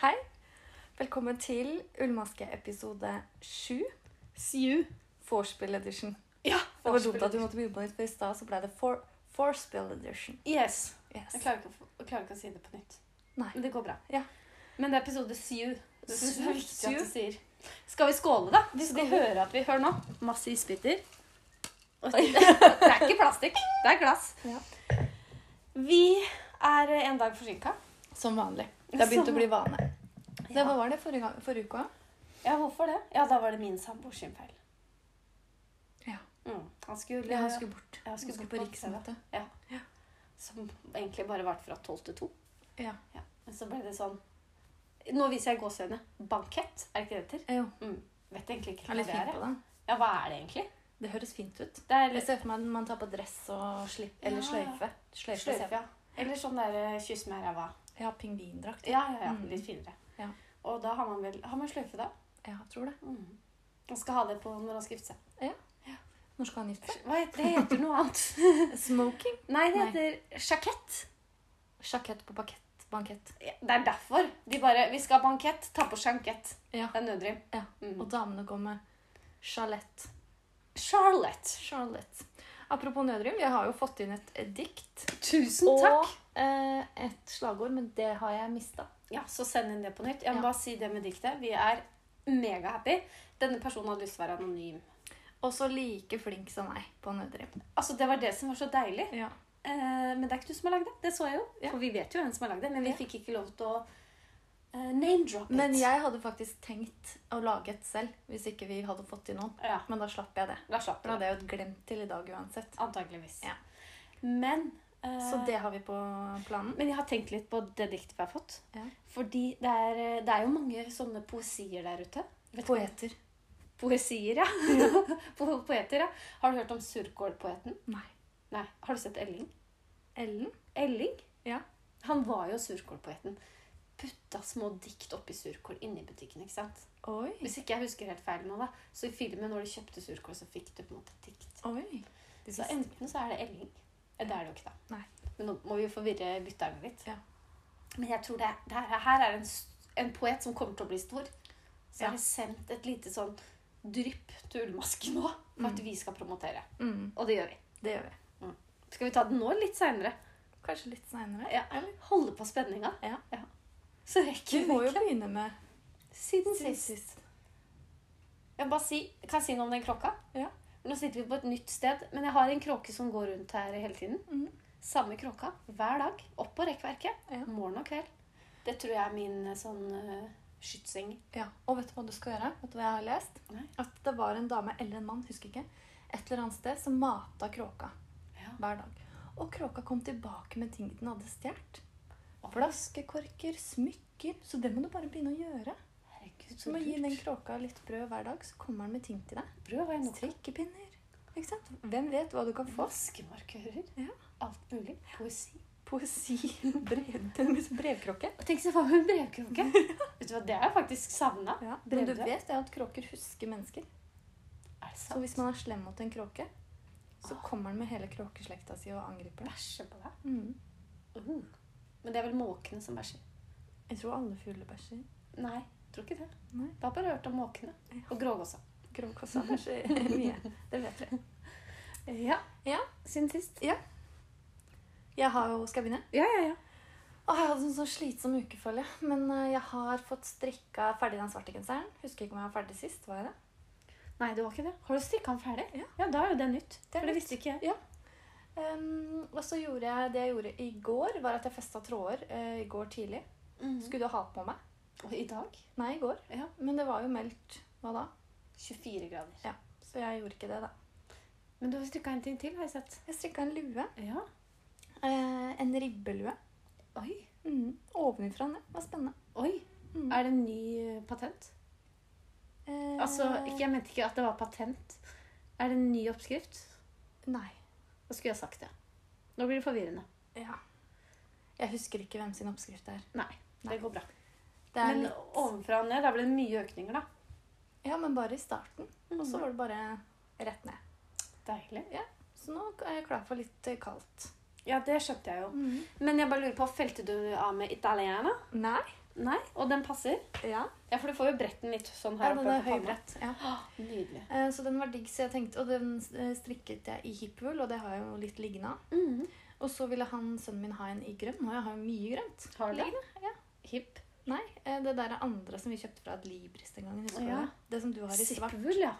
Hei. Velkommen til Ullmaske episode 7, Siu. Vorspiel edition. Ja, Det var dumt at vi måtte begynne på nytt, for i stad så ble det for- Vorspiel edition. Yes. Yes. Jeg klarer, ikke å, få- jeg klarer ikke å si det på nytt. Nei. Men det går bra. Ja. Men det er episode siu. Det er så Siu. viktig at du sier. Skal vi skåle, da? Hvis de Skål. hører at vi hører nå. Masse isbiter. Og- Det er ikke plastikk. Det er glass. Ja. Vi er eh, en dag forsinka. Som vanlig. Det har begynt Som- å bli vane. Det Ja. Hva var det forrige, gang, forrige uke òg? Ja, hvorfor det? Ja, da var det min samboer sin feil. Ja. Mm. Han skulle, Ja, han skulle bort. Ja, han skulle på bort på riksmøte. Som egentlig bare varte fra tolv til to. Ja. Men så ble det sånn Nå viser jeg gåsehudene. Bankett, er det ikke det det heter? Eh, Jo, Vet egentlig ikke er hva litt det fint er. på jeg. den. Ja, hva er det egentlig? Det høres fint ut. Det er Jeg ser for meg at man tar på dress og slipp, eller Ja. sløyfe. Sløyfe, ser jeg sløyfe, ja. Eller sånn der eh, kyss meg i ræva. for- Ja, pingvindrakt. Ja, ja, ja. Mm. Litt finere. Ja. Og da har man vel Har man sløyfe da? Ja, jeg tror det. Mm. Man skal ha det på når man skal gifte seg. Når skal han gifte seg? Hva heter det? Det heter noe annet. Smoking. Nei, det Nei. heter sjakett. Sjakett på bakett. Bankett. Ja, det er derfor. De bare Vi skal ha bankett, ta på sjankett. Ja. Det er nødrim. Ja. Mm. Og damene går med sjalett. Charlotte. Charlotte. Apropos nødrim, jeg har jo fått inn et eh, dikt Tusen og Mm, takk. eh, et slagord, men det har jeg mista. Ja, så send inn det på nytt. Jeg må Ja. bare si det med diktet. Vi er megahappy. Denne personen hadde lyst til å være anonym. Også like flink som meg på nødrim. Altså, Det var det som var så deilig. Ja. Eh, men det er ikke du som har lagd det. Det så jeg jo. Ja. For vi vet jo hvem som har lagd det, men vi Ja. fikk ikke lov til å eh, name-droppe Men it. jeg hadde faktisk tenkt å lage et selv hvis ikke vi hadde fått inn noen. Ja, Men da slapp jeg det. da slapp For da du det. hadde jeg jo glemt til i dag uansett. Antakeligvis. Ja. Men eh, Så det har vi på planen. Men jeg har tenkt litt på det diktet vi har fått. Ja. Fordi det er, eh, det er jo mange sånne poesier der ute. Vet du- Poeter. Poesier, ja. Po- Poeter, ja. Har du hørt om Surkål-poeten? Nei. Nei. Har du sett Elling? Ellen? Elling? Ja. Han var jo surkålpoeten. Putta små dikt oppi surkål inni butikken. ikke sant? Oi. Hvis ikke jeg husker helt feil nå, da, så i filmen når de kjøpte surkål, så fikk du på en måte et dikt. Oi. De Så siste. enten så er det Elling. Eh, Det er det jo ikke, da. Nei. Men nå må vi jo forvirre lytterne litt. Ja. Men jeg tror det, er- det her, her er en, s- en poet som kommer til å bli stor. Så Ja. har jeg sendt et lite sånn drypp til ullmasken nå, for at vi skal promotere. Mm, Og det gjør vi. det gjør vi. Skal vi ta den nå eller litt seinere? Kanskje litt seinere. Ja. Holde på spenninga? Ja. Så rekker Vi må vi jo ikke. begynne med Siden siden sist. sist. Jeg bare si, kan jeg si noe om den klokka? Ja. Nå sitter vi på et nytt sted, men jeg har en kråke som går rundt her hele tiden. Mhm. Samme kråka hver dag. Opp på rekkverket. Ja. Morgen og kveld. Det tror jeg er min eh, sånn uh, skytseng. Ja, og vet du hva du skal gjøre? Vet du hva jeg har lest? Nei. At det var en dame eller en mann, husker ikke, et eller annet sted som mata kråka Ja. hver dag. Og kråka kom tilbake med ting den hadde stjålet. Flaskekorker, smykker. Så det må du bare begynne å gjøre. Herregud, Så så må du gi den lurt. kråka litt brød hver dag, så kommer den med ting til deg. Brød har jeg nok av. Strikkepinner. Ikke sant? Hvem vet hva du kan få? Vaskemarkører. Ja. Alt mulig. Poesi. Poesi. Brev, brevkråke. Og tenk så faen med en brevkråke. Vet du hva, det har jeg faktisk savna. Ja, men du brevdue. vet det at kråker husker mennesker. Er det Så sant? hvis man er slem mot en kråke, så Ah. kommer den med hele kråkeslekta si og angriper deg. Bæsje på deg. Mm. Uh. Men det er vel måkene som bæsjer? Jeg tror alle fugler bæsjer. Nei, tror ikke det. Nei. Jeg har bare hørt om måkene. Ja. Og grågåsa. Kråkassa bæsjer mye. Det vet vi. Ja. Ja. Siden sist. Jeg har jo, Skal jeg begynne? Ja, ja, ja. Åh, jeg hadde en sånn slitsom uke, føler jeg. Men eh, jeg har fått strikka ferdig den svarte genseren. Husker ikke om jeg var ferdig sist. var jeg det? Nei, det var ikke det. Har du strikka den ferdig? Ja. da er jo det nytt. Det er For det nytt. visste ikke jeg. Ehm, og så gjorde jeg det jeg gjorde i går, var at jeg festa tråder eh, i går tidlig. Skulle- Skulle ha på meg. Og i dag Nei, i går. Mhm. Ja. Men det var jo meldt hva da? 24 grader. Så jeg gjorde ikke det, da. Men du har strikka en ting til, har jeg sett. Jeg strikka en lue. Ja. Eh, en ribbelue. Oi. Mm. Ovenifra og ned. Det var spennende. Oi. Mm. Er det en ny eh, patent? Eh, Altså, ikke, jeg mente ikke at det var patent. Er det en ny oppskrift? Nei. Da skulle jeg sagt det. Nå blir det forvirrende. Ja. Jeg husker ikke hvem sin oppskrift det er. Nei. Nei. Det går bra. Det er Men litt... ovenfra og ned, da ble det mye økninger, da. Ja, men bare i starten. Og så Mhm. var det bare rett ned. Deilig. Så nå er jeg klar for litt eh, kaldt. Ja, det skjønte jeg jo. Men jeg bare lurer på, felte du av med Italiana? Nei. Nei, og den passer? Ja. Ja, for du får jo bretten litt sånn ja her den oppe er på panna. høybrett. Ja. Nydelig. Eh, Så den var digg, så jeg tenkte, og den eh, strikket jeg i hippwool, og det har jeg jo litt liggende av. Mhm. Og så ville han, sønnen min, ha en i grønn, og jeg har jo mye grønt. Har du det? liggende. Ja. Hipp. Nei, eh, det der er andre som vi kjøpte fra et Libris den gangen, husker Å, ja. du det? Det som du har i svart. Sippvull, ja.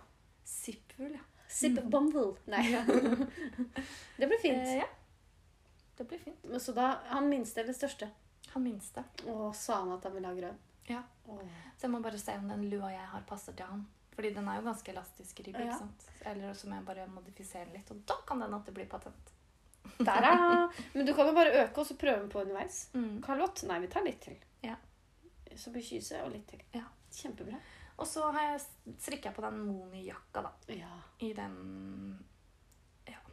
Zippwool, ja. Sipp bumble. Nei. det blir Eh, fint. ja. Det blir fint. Men Så da, han minste eller største? Han minste. Å, sa han at han ville ha grønn? Ja. Å. Så jeg må bare se om den lua jeg har, passer til han. Fordi den er jo ganske elastisk ribbe, Ja. ikke sant? Eller så må jeg bare modifisere den litt, og da kan den at det blir patent. Der er han. Men du kan jo bare øke, og så prøve den på underveis. Mm. Kalott? Nei, vi tar litt til. Ja. Så blir kyse og litt til. Ja. Kjempebra. Og så har jeg strikket på den moni-jakka da. Ja. I den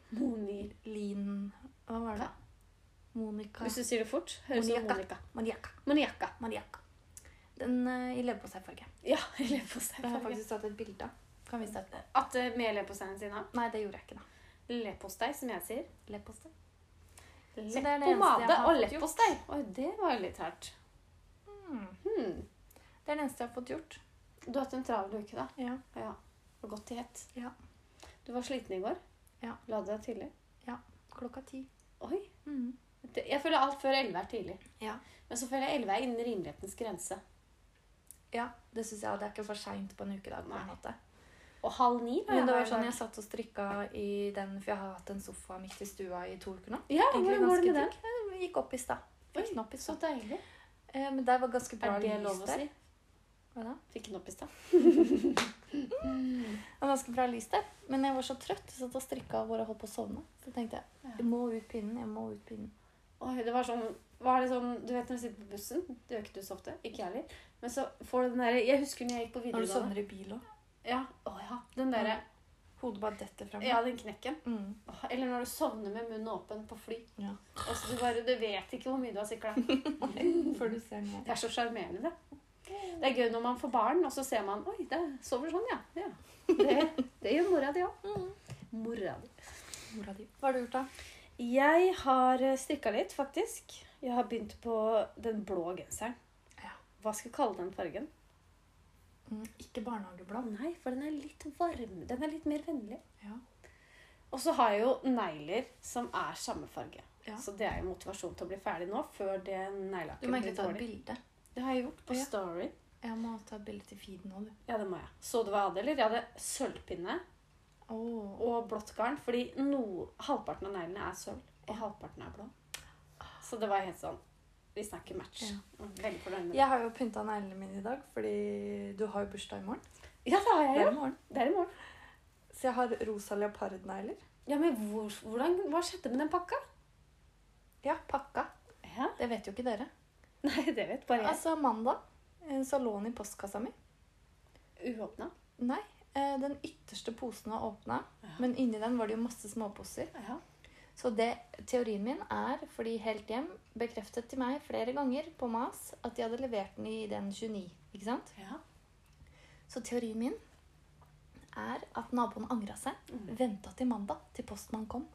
Moni. lin... Hva var det? Ka. Monica. Hvis du sier det fort, høres det ut som Moniakka. Monica. Maniakka. Moniakka. Maniakka. Den eh, i leverposteifarge. Ja, leverposteien. Det har jeg faktisk tatt et bilde av. Kan vise deg. At eh, med leverposteien sin, ja. Nei, det gjorde jeg ikke, da. Leverpostei, som jeg sier. Leverpostei. det er det eneste jeg Leppepomade har og fått leverpostei. Oi, det var jo litt hardt. Mm. Hmm. Det er det eneste jeg har fått gjort. Du har hatt en travel uke, da. Ja. Ja. Og Godt i hett. Ja. Du var sliten i går. Ja. La du deg tidlig? Klokka ti. Oi. Mm. Det- Jeg føler alt før 11 er tidlig. Ja. Men så føler jeg 11 er innen rimelighetens grense. Ja, det synes jeg. Det er ikke for seint på en ukedag. på Nei. en måte. Og halv ni var Men det her var i sånn dag. jeg satt og strikka i den, for jeg har hatt en sofa midt i stua i to uker nå. Ja, Egentlig hvordan går det med den? ganske digg. Jeg Gikk opp i stad. Fikk den opp i Så stad. deilig. Eh, Men der var ganske bra Er det lov lys å der. si? Hva da? Fikk den opp i stad. Det var ganske bra lys der. Men jeg var så trøtt. Jeg satt og strikka hvor jeg holdt på å sovne. Så tenkte jeg jeg må ut pinnen. jeg må ut pinnen. Oi, det var sånn var det sånn, Du vet når du sitter på bussen, det gjør ikke du så ofte. Ikke jeg heller. Men så får du den derre Jeg husker når jeg gikk på Når du videregående. sovner i bil òg. Ja, å ja. Den derre Hodet bare detter fram. Ja, den knekken. Mm. Åh, Eller når du sovner med munnen åpen på fly. Ja. Og så du bare Du vet ikke hvor mye du har sikla. Før du ser ned. Det er så sjarmerende, det. Det er gøy når man får barn, og så ser man Oi, det sover sånn, ja. ja. Det, det gjør mora di òg. Mora di. Mora di. Hva har du gjort, da? Jeg har strikka litt, faktisk. Jeg har begynt på den blå genseren. Ja. Hva skal jeg kalle den fargen? Mm. Ikke Å barnehageblad. nei, for den er litt varm. Den er litt mer vennlig. Ja. Og så har jeg jo negler som er samme farge. Ja. Så det er jo motivasjon til å bli ferdig nå, før det Du må neglelakken egentlig blir ta et dårlig. bilde. Det har jeg gjort på Ja. Story. Jeg må ta et bilde til feeden òg, du. Ja, det må jeg. Så du hva jeg hadde, eller? Jeg hadde sølvpinne Åh. og blått garn, fordi no, halvparten av neglene er sølv, og halvparten er blå. Så det var helt sånn Vi snakker match. Mm, Ja. Veldig fornøyd med det. Jeg har jo pynta neglene mine i dag, fordi du har jo bursdag i morgen. Ja, det har jeg Det er jo. i morgen. Det er i morgen. Så jeg har rosa leopardnegler. Ja, men hvor, hvordan, Hva skjedde med den pakka? Ja, pakka. Ja. Det vet jo ikke dere. Nei, det vet bare jeg. Altså, mandag eh, så lå den i postkassa mi. Uåpna. Nei, eh, den ytterste posen var åpna, Ja. men inni den var det jo masse småposer. Ja. Så det, teorien min er, fordi Helt Hjem bekreftet til meg flere ganger på mas at de hadde levert den i den 29, ikke sant? ja. Så teorien min er at naboen angra seg, Mm. venta til mandag, til postmann kom.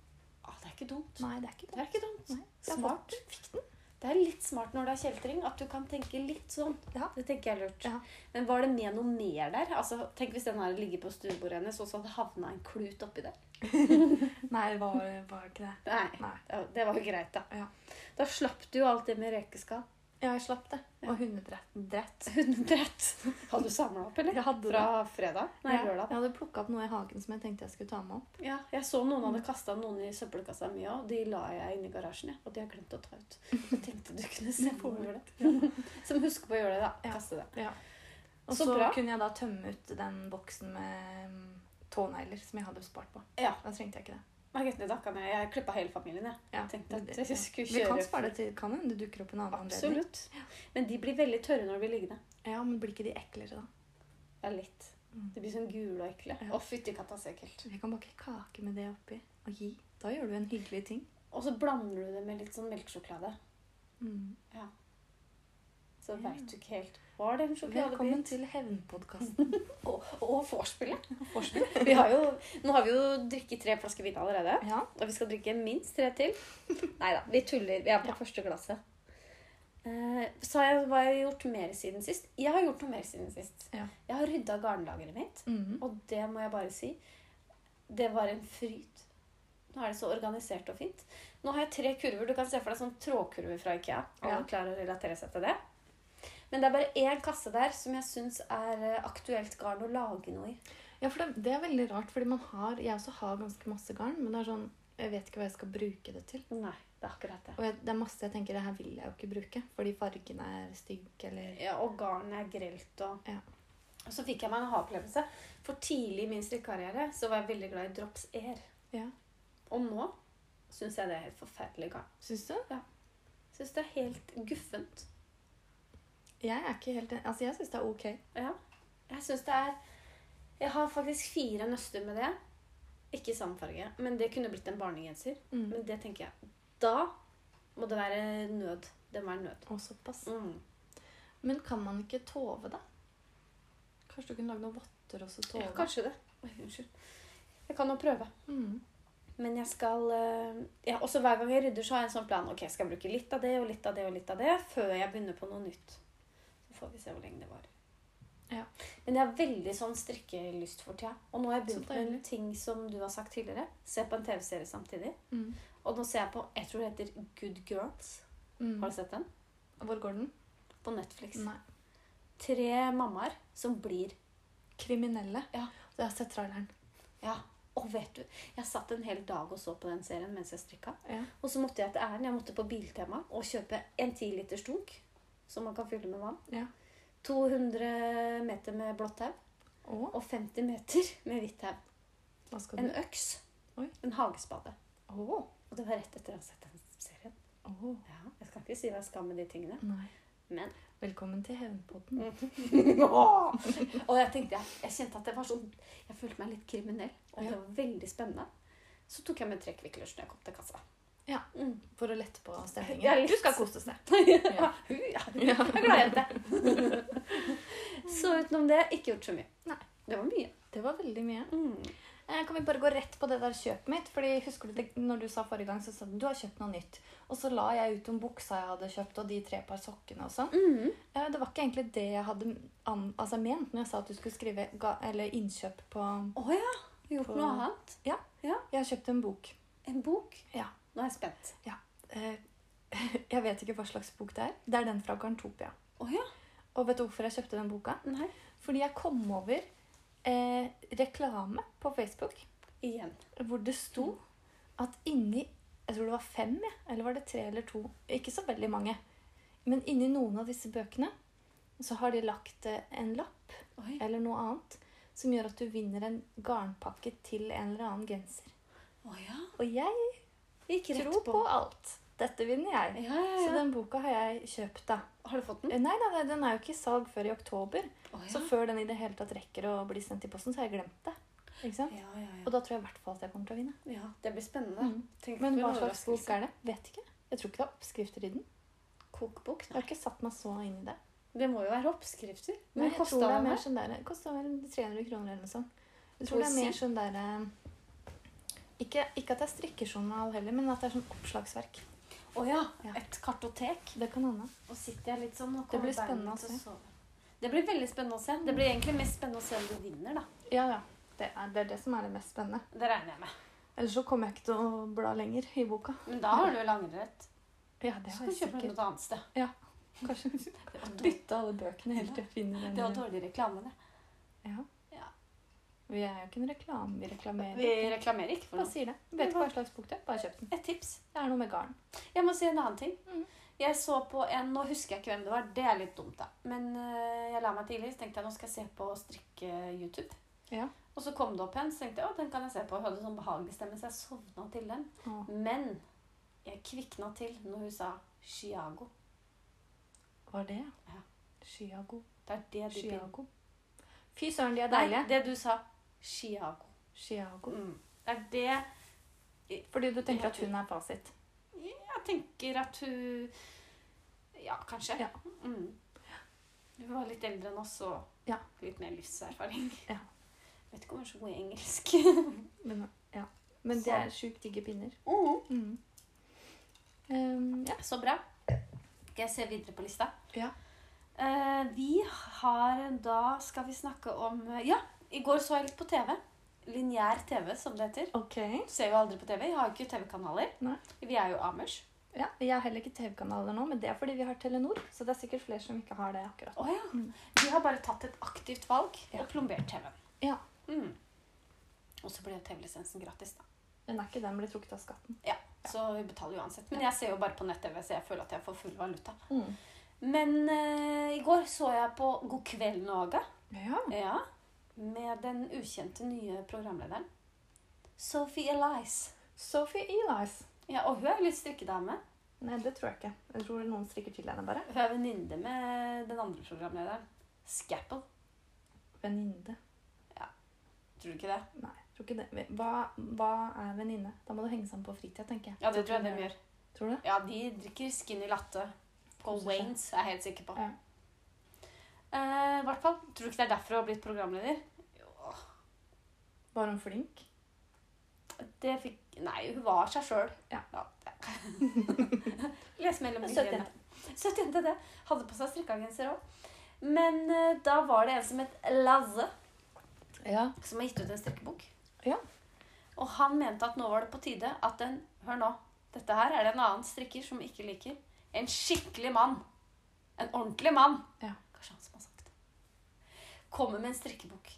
Ah, det er ikke dumt. Nei, det er ikke Det er ikke dumt. Nei, jeg Smart. fått den. Fikk den. Det er litt smart når det er kjeltring, at du kan tenke litt sånn. Ja. Det tenker jeg er lurt. Ja. Men var det med noe mer der? Altså, Tenk hvis den hadde ligget på stuebordet hennes, og så hadde det havna en klut oppi der. Nei, det var, var ikke det. Nei. Nei. Ja, Det var jo greit, da. Ja. Da slapp du jo alt det med rekeskall. Ja, jeg slapp det. Og hundedrett. Drett. Hundedrett. Hadde du samla opp, eller? Jeg hadde Fra det. fredag? Nei, Ja, lørdag. Jeg hadde plukka opp noe i hagen som jeg tenkte jeg skulle ta med opp. Ja, jeg så noen Mm. hadde kasta noen i søppelkassa mi òg. De la jeg inni garasjen, jeg, og de har glemt å ta ut. Jeg tenkte du kunne se på får det. Som husker på å gjøre det, da. Ja. Kaste det. Og Så så, bra. kunne jeg da tømme ut den boksen med mm, tånegler som jeg hadde spart på. Ja. Da trengte jeg ikke det. Margrethe, da kan jeg, jeg klippa hele familien, jeg. Ja. Tenkte at Det- jeg skulle Vi kjøre kan spare det til kan hende det dukker opp en annen anledning. Absolutt. Men de blir veldig tørre når de blir liggende. Ja, men blir ikke de eklere da? Ja, litt. Mm. De blir sånn gule og ekle. Ja. Å, fytti katta, så ekkelt. Jeg kan bake kake med det oppi og gi. Da gjør du en hyggelig ting. Og så blander du det med litt sånn melkesjokolade. Mm. Ja. Så Ja. vet du ikke helt Var det en sjokoladebit? Velkommen til Hevnpodkasten. Og, og vorspielet. Vi har jo, nå har vi jo drukket tre flasker vin allerede. Ja. Og vi skal drikke minst tre til. Nei da, vi tuller. Vi er på Ja. første glasset. Eh, så har jeg, hva har jeg gjort mer siden sist? Jeg har gjort noe mer siden sist. Ja. Jeg har rydda garnlageret mitt, Mhm. og det må jeg bare si. Det var en fryd. Nå er det så organisert og fint. Nå har jeg tre kurver. Du kan se for deg sånn trådkurver fra Ikea. Alle Ja. klarer å relatere seg til det. Men det er bare én kasse der som jeg syns er eh, aktuelt garn å lage noe i. ja, for det, det er veldig rart, fordi man har Jeg også har ganske masse garn, men det er sånn Jeg vet ikke hva jeg skal bruke det til. Nei, det er akkurat det. Og jeg, det er masse jeg tenker det her vil jeg jo ikke bruke, fordi fargen er stygg eller Ja, og garnet er grelt og Ja. Og så fikk jeg meg en aha-opplevelse. For tidlig i min strikkekarriere så var jeg veldig glad i drops air. Ja. Og nå syns jeg det er helt forferdelig garn. Syns du? Syns det er helt guffent. Jeg er ikke helt en- Altså, jeg syns det er ok. Ja. Jeg syns det er Jeg har faktisk fire nøster med det. Ikke samme farge, men det kunne blitt en barnegenser. Mm. Men det tenker jeg Da må det være nød. Det må være nød. Og såpass. Mm. Men kan man ikke tove, da? Kanskje du kunne lage noen votter og så tove? Ja, kanskje det. Oi, unnskyld. Jeg kan jo prøve. Mm. Men jeg skal eh, ja, også Hver gang jeg rydder, så har jeg en sånn plan. Ok, jeg skal bruke litt av det og litt av det og litt av det før jeg begynner på noe nytt. Så får vi se hvor lenge det varer. Ja. Men jeg har veldig sånn strikkelyst for tida. Og nå har jeg Så begynt med en deilig. ting som du har sagt tidligere. Se på en TV-serie samtidig. Mm. Og nå ser jeg på Jeg tror det heter Good Girls. Mm. Har du sett den? Hvor går den? På Netflix. Nei. Tre mammaer som blir Kriminelle. Ja. Jeg har sett traileren. Ja. Og vet du, jeg satt en hel dag og så på den serien mens jeg strikka. Ja. Og så måtte jeg til æren. Jeg måtte på Biltema og kjøpe en 10 liters dunk som man kan fylle med vann. Ja. 200 meter med blått tau Og og 50 meter med hvitt tau. hva skal En du øks. Oi. En hagespade. Å. Og det var rett etter at jeg hadde sett den serien. Å. Ja, jeg skal ikke si hva jeg skal med de tingene, Nei. men Velkommen til Hevnpodden. Og jeg tenkte, jeg, jeg kjente at det var sånn Jeg følte meg litt kriminell, og det Ja. var veldig spennende. Så tok jeg med trekkvikkelers når jeg kom til kassa. Ja. Mm. For å lette på stemningen. Ja, du litt. skal kose deg. ja. Hu, ja. Ja. Jeg er glad i dette. så utenom det, ikke gjort så mye. Nei. Det var mye. Det var veldig mye. Mm. Eh, Kan vi bare gå rett på det der kjøpet mitt? Fordi husker du det, når du sa forrige gang, så sa du du har kjøpt noe nytt. Og så la jeg ut om buksa jeg hadde kjøpt, og de tre par sokkene og sånn. Mhm. Eh, Det var ikke egentlig det jeg hadde an, altså, ment når jeg sa at du skulle skrive ga, eller innkjøp på Å ja. Gjort På- noe annet. Jeg har kjøpt en bok. En bok. Ja. Nå er jeg spent. Eh, Jeg vet ikke hva slags bok det er. Det er den fra Garntopia. Å ja. Og vet du hvorfor jeg kjøpte den boka? Nei. Fordi jeg kom over eh, reklame på Facebook Igjen. hvor det sto at inni Jeg tror det var fem, jeg, eller var det tre eller to? Ikke så veldig mange. Men inni noen av disse bøkene så har de lagt eh, en lapp Oi. eller noe annet som gjør at du vinner en garnpakke til en eller annen genser. Å ja. Og jeg Gikk rett tror på på. alt. Dette vinner jeg. Ja, ja, Så ja. den boka har jeg kjøpt, da. Har du fått den? Eh, Nei, nei, nei, den er jo ikke i salg før i oktober. Å Så ja. før den i det hele tatt rekker å bli sendt i posten, så har jeg glemt det. Ikke sant? Ja, ja, Og ja. da tror jeg i hvert fall at jeg kommer til å vinne. ja. Det blir spennende. Mm. Tenk Men for hva en slags bok overraskelse. er det? Vet ikke. Jeg tror ikke det er oppskrifter i den. Kokebok? Jeg har ikke satt meg så inn i det. Det må jo være oppskrifter. Men Men jeg kosta tror det det er mer mer? sånn der Kosta vel 300 kroner eller noe sånt. Jeg tror det er Poesi? mer sånn der eh, ikke, ikke at det er strikkejournal heller, men at det er sånn oppslagsverk. Å ja. Ja. Et kartotek. Det kan hende. Og sitter jeg litt sånn og Det blir kommer spennende beina å til se. sove. Det blir veldig spennende å se. Det blir egentlig mest spennende å se om du vinner, da. Ja, ja. Det er, det er det som er det mest spennende. Det regner jeg med. Ellers så kommer jeg ikke til å bla lenger i boka. Men da har du vel angrerett. Ja, det Så har kan du jeg kjøpe den sikkert. noe annet sted. Kanskje Det var dårlig, bytte alle bøkene helt til jeg finner det var den. dårlig reklame, det. Ja. Vi er jo ikke en reklame. Vi reklamerer. Vi reklamerer ikke for Bare noe. sier det. Vet ikke hva slags bok det er. Bare kjøp den. Et tips. Det er noe med garn. Jeg må si en annen ting. Mm. Jeg så på en Nå husker jeg ikke hvem det var. Det er litt dumt, da. Men eh, jeg la meg tidlig, så tenkte jeg nå skal jeg se på strikke-YouTube. Ja. Og så kom det opp en, så tenkte jeg å, den kan jeg se på. Jeg hadde sånn behagelig stemme, så jeg sovna til den. Åh. Men jeg kvikna til når hun sa Chiago. Var det? Ja. Chiago. Det er det du Chiago. Fy søren, de er Nei, deilige. det du sa. Chiago. Chiago. Mm. Det er det Fordi du tenker at hun er fasit. Jeg tenker at hun Ja, kanskje. Ja. Mm. Hun var litt eldre enn oss og Ja. litt mer livserfaring. Ja. Vet ikke om hun er så god i engelsk. Men, ja. Men det Så. er sjukt digge pinner. Mm. Ehm, ja. Så bra. Skal jeg se videre på lista? Ja. Eh, vi har da Skal vi snakke om eh, Ja, i går så jeg litt på TV. Lineær TV, som det heter. Ok. Ser jo aldri på TV. Jeg har jo ikke TV-kanaler. Nei. Vi er jo Amers. Ja, jeg har heller ikke TV-kanaler nå, men det er fordi vi har Telenor. Så det er sikkert flere som ikke har det akkurat. Å ja. Mm. Vi har bare tatt et aktivt valg Ja. og plombert TV-en. Ja. Mm. Og så ble jo TV-lisensen gratis, da. Men er ikke den blir trukket av skatten. Så vi betaler uansett. Men jeg ser jo bare på nett-TV, så jeg føler at jeg får full valuta. Mm. Men eh, i går så jeg på God kveld, Norge. Ja. Ja. Med den ukjente nye programlederen. Sophie Elise. Sophie Elias. Ja, og hun er jo litt strikkedame. Nei, det tror jeg ikke. Jeg tror noen strikker til henne bare. Hun er venninne med den andre programlederen. Scapple. Venninne. Tror du ikke det? Nei, jeg tror ikke det. Hva, hva er venninne? Da må du henge sammen på fritida, tenker jeg. Ja, det tror jeg de gjør. Tror du det? Ja, de drikker skinny latte. På Koser seg. Waynes, er jeg helt sikker på. Ja. Eh, i hvert fall, Tror du ikke det er derfor hun har blitt programleder? Jo, Var hun flink? Det fikk Nei, hun var seg sjøl. Ja. Les mellom Søt linjene. Søt jente, det. Hadde på seg strikkegenser òg. Men eh, da var det en som het Lazze, Ja. som har gitt ut en strikkebok. Ja. Og han mente at nå var det på tide at en Hør nå. Dette her er det en annen strikker som ikke liker. En skikkelig mann. En ordentlig mann. Ja. Kanskje han som har sagt det. Kommer med en strikkebok.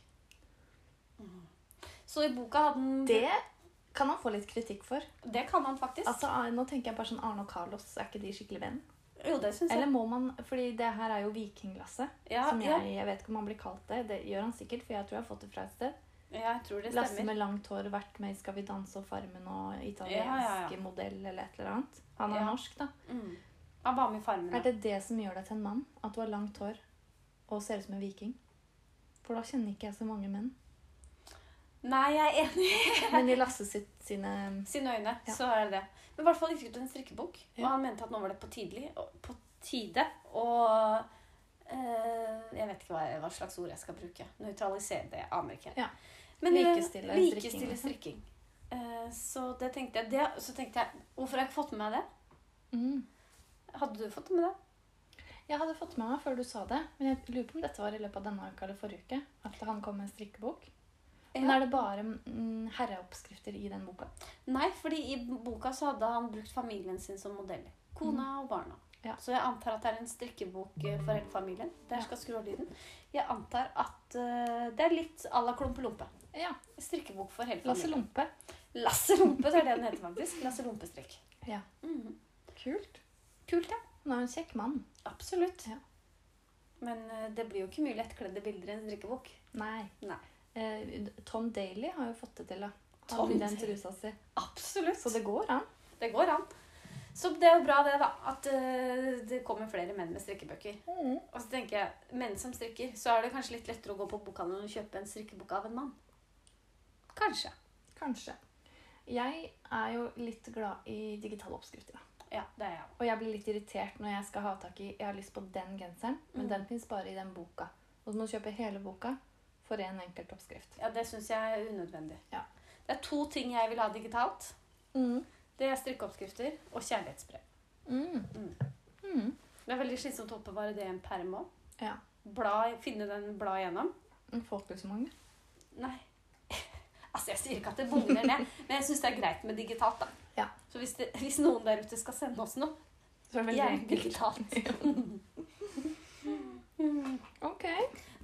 Mm. Så i boka hadde han Det kan han få litt kritikk for. Det kan han faktisk. Altså, Nå tenker jeg bare sånn Arne og Carlos. Er ikke de skikkelig venn? jo, det syns jeg. Eller må man Fordi det her er jo vikingglasset. Ja, som ja, jeg, jeg vet ikke om han blir kalt det. Det gjør han sikkert, for jeg tror jeg har fått det fra et sted. jeg tror det Lasse stemmer. med langt hår, vært med i Skal vi danse og Farmen og italiensk Ja, ja, ja. modell eller et eller annet. Han er Ja. norsk, da. Mm. Han var med i Farmen. ja. Er det det som gjør deg til en mann? At du har langt hår og ser ut som en viking? For da kjenner ikke jeg så mange menn. Nei, jeg er enig. Men i Lasse sitt, sine Sine øyne, Ja. så er det det. Men i hvert fall gikk det ut en strikkebok, og Ja. han mente at nå var det på, tidlig, på tide å eh, Jeg vet ikke hva, hva slags ord jeg skal bruke. Nøytralisere det. jeg Aner ikke. Ja. Men eh, Likestille strikking, likestille liksom. strikking. Eh, så det tenkte jeg. Det, så tenkte jeg, Hvorfor har jeg ikke fått med meg det? mm. Hadde du fått det med det? Jeg hadde fått med meg før du sa det, men jeg lurer på om dette var i løpet av denne uka eller forrige uke. At han kom med en strikkebok. Men Ja. er det bare mm, herreoppskrifter i den boka? Nei, fordi i boka så hadde han brukt familien sin som modell. Kona og barna. Mm. Ja. Så jeg antar at det er en strikkebok eh, for hele familien. Der skal jeg skru av lyden. Jeg antar at eh, det er litt à la Klumpelompe. Ja. Strikkebok for hele Lasse familien. Lompe. Lasse Lompe, så er det den heter faktisk. Lasse Lompestrikk. Ja. Mm. Mhm. Kult. Kult, ja. Han er jo en kjekk mann. Absolutt. Ja. Men eh, det blir jo ikke mye lettkledde bilder i en strikkebok. Nei. Nei. Eh, Tom Daly har jo fått det til, da. Han Tom bygde den Daly. trusa si. Absolutt. Så det går an. Det går an. Så det er jo bra det, da. At eh, det kommer flere menn med strikkebøker. Og så tenker jeg, menn som strikker, så er det kanskje litt lettere å gå på bokhandelen og kjøpe en strikkebok av en mann. Kanskje. Kanskje. Jeg er jo litt glad i digitale oppskrifter. da. Ja, det er jeg òg. Og jeg blir litt irritert når jeg skal ha tak i Jeg har lyst på den genseren, men Mm. den fins bare i den boka. Og så må du kjøpe hele boka for én en enkelt oppskrift. Ja, det syns jeg er unødvendig. Ja. Det er to ting jeg vil ha digitalt. Mm. Det er strikkeoppskrifter og kjærlighetsbrev. Mm. Mm. Mm. Det er veldig slitsomt å oppbevare det i en perm òg. Ja. Bla- Finne den blad igjennom. Folkehusmangel. Nei. altså, jeg sier ikke at det bugner ned, men jeg syns det er greit med digitalt, da. Ja. Så hvis, det, hvis noen der ute skal sende oss noe, Så er det veldig gjerne enkelt. digitalt. Mm. Ok.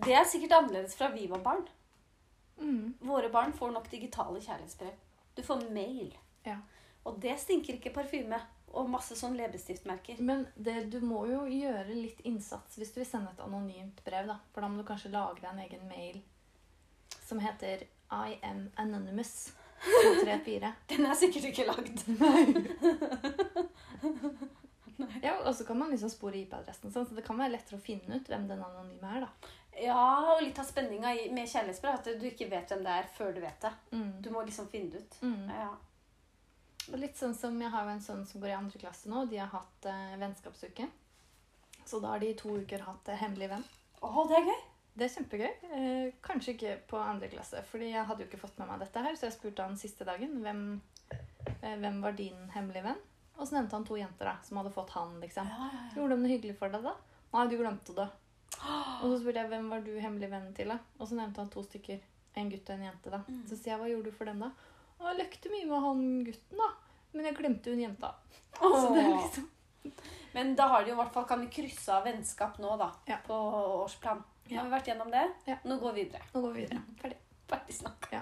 Det er sikkert annerledes fra vi var barn. Mm. Våre barn får nok digitale kjærlighetsbrev. Du får mail. Ja. Og det stinker ikke parfyme og masse sånn leppestiftmerker. Men det, du må jo gjøre litt innsats hvis du vil sende et anonymt brev. da. For da må du kanskje lage deg en egen mail som heter I am anonymous. 234. Den er sikkert ikke lagd. Ja, og så kan man liksom spore IP-adressen, sånn, så det kan være lettere å finne ut hvem den anonyme er. da. Ja, og litt av spenninga i- med kjærlighetsbrev er at du ikke vet hvem det er før du vet det. Mm. Du må liksom finne det ut. Mm. Ja. Og litt sånn som Jeg har jo en sønn som går i andre klasse nå. og De har hatt eh, vennskapsuke. Så da har de i to uker hatt eh, hemmelig venn. Å, det er gøy! Det er kjempegøy. Eh, kanskje ikke på andre klasse, fordi jeg hadde jo ikke fått med meg dette her, så jeg spurte han siste dagen hvem, eh, hvem var din hemmelige venn. Og så nevnte han to jenter da, som hadde fått han, liksom. Ja, ja, ja. Gjorde de det hyggelig for deg da? Nei, du glemte det. Og så spurte jeg hvem var du hemmelig venn til da? Og så nevnte han to stykker. En gutt og en jente da. Mm. Så sier jeg, hva gjorde du for dem da? «Å, Jeg løkte mye med han gutten da, men jeg glemte hun jenta. Så det er liksom... Men da har de jo i hvert fall, kan vi krysse av vennskap nå, da. Ja. På årsplan. Nå Ja. har vi vært gjennom det. Ja. Nå går vi videre. Nå går vi videre. Ferdig. Ferdig snakka.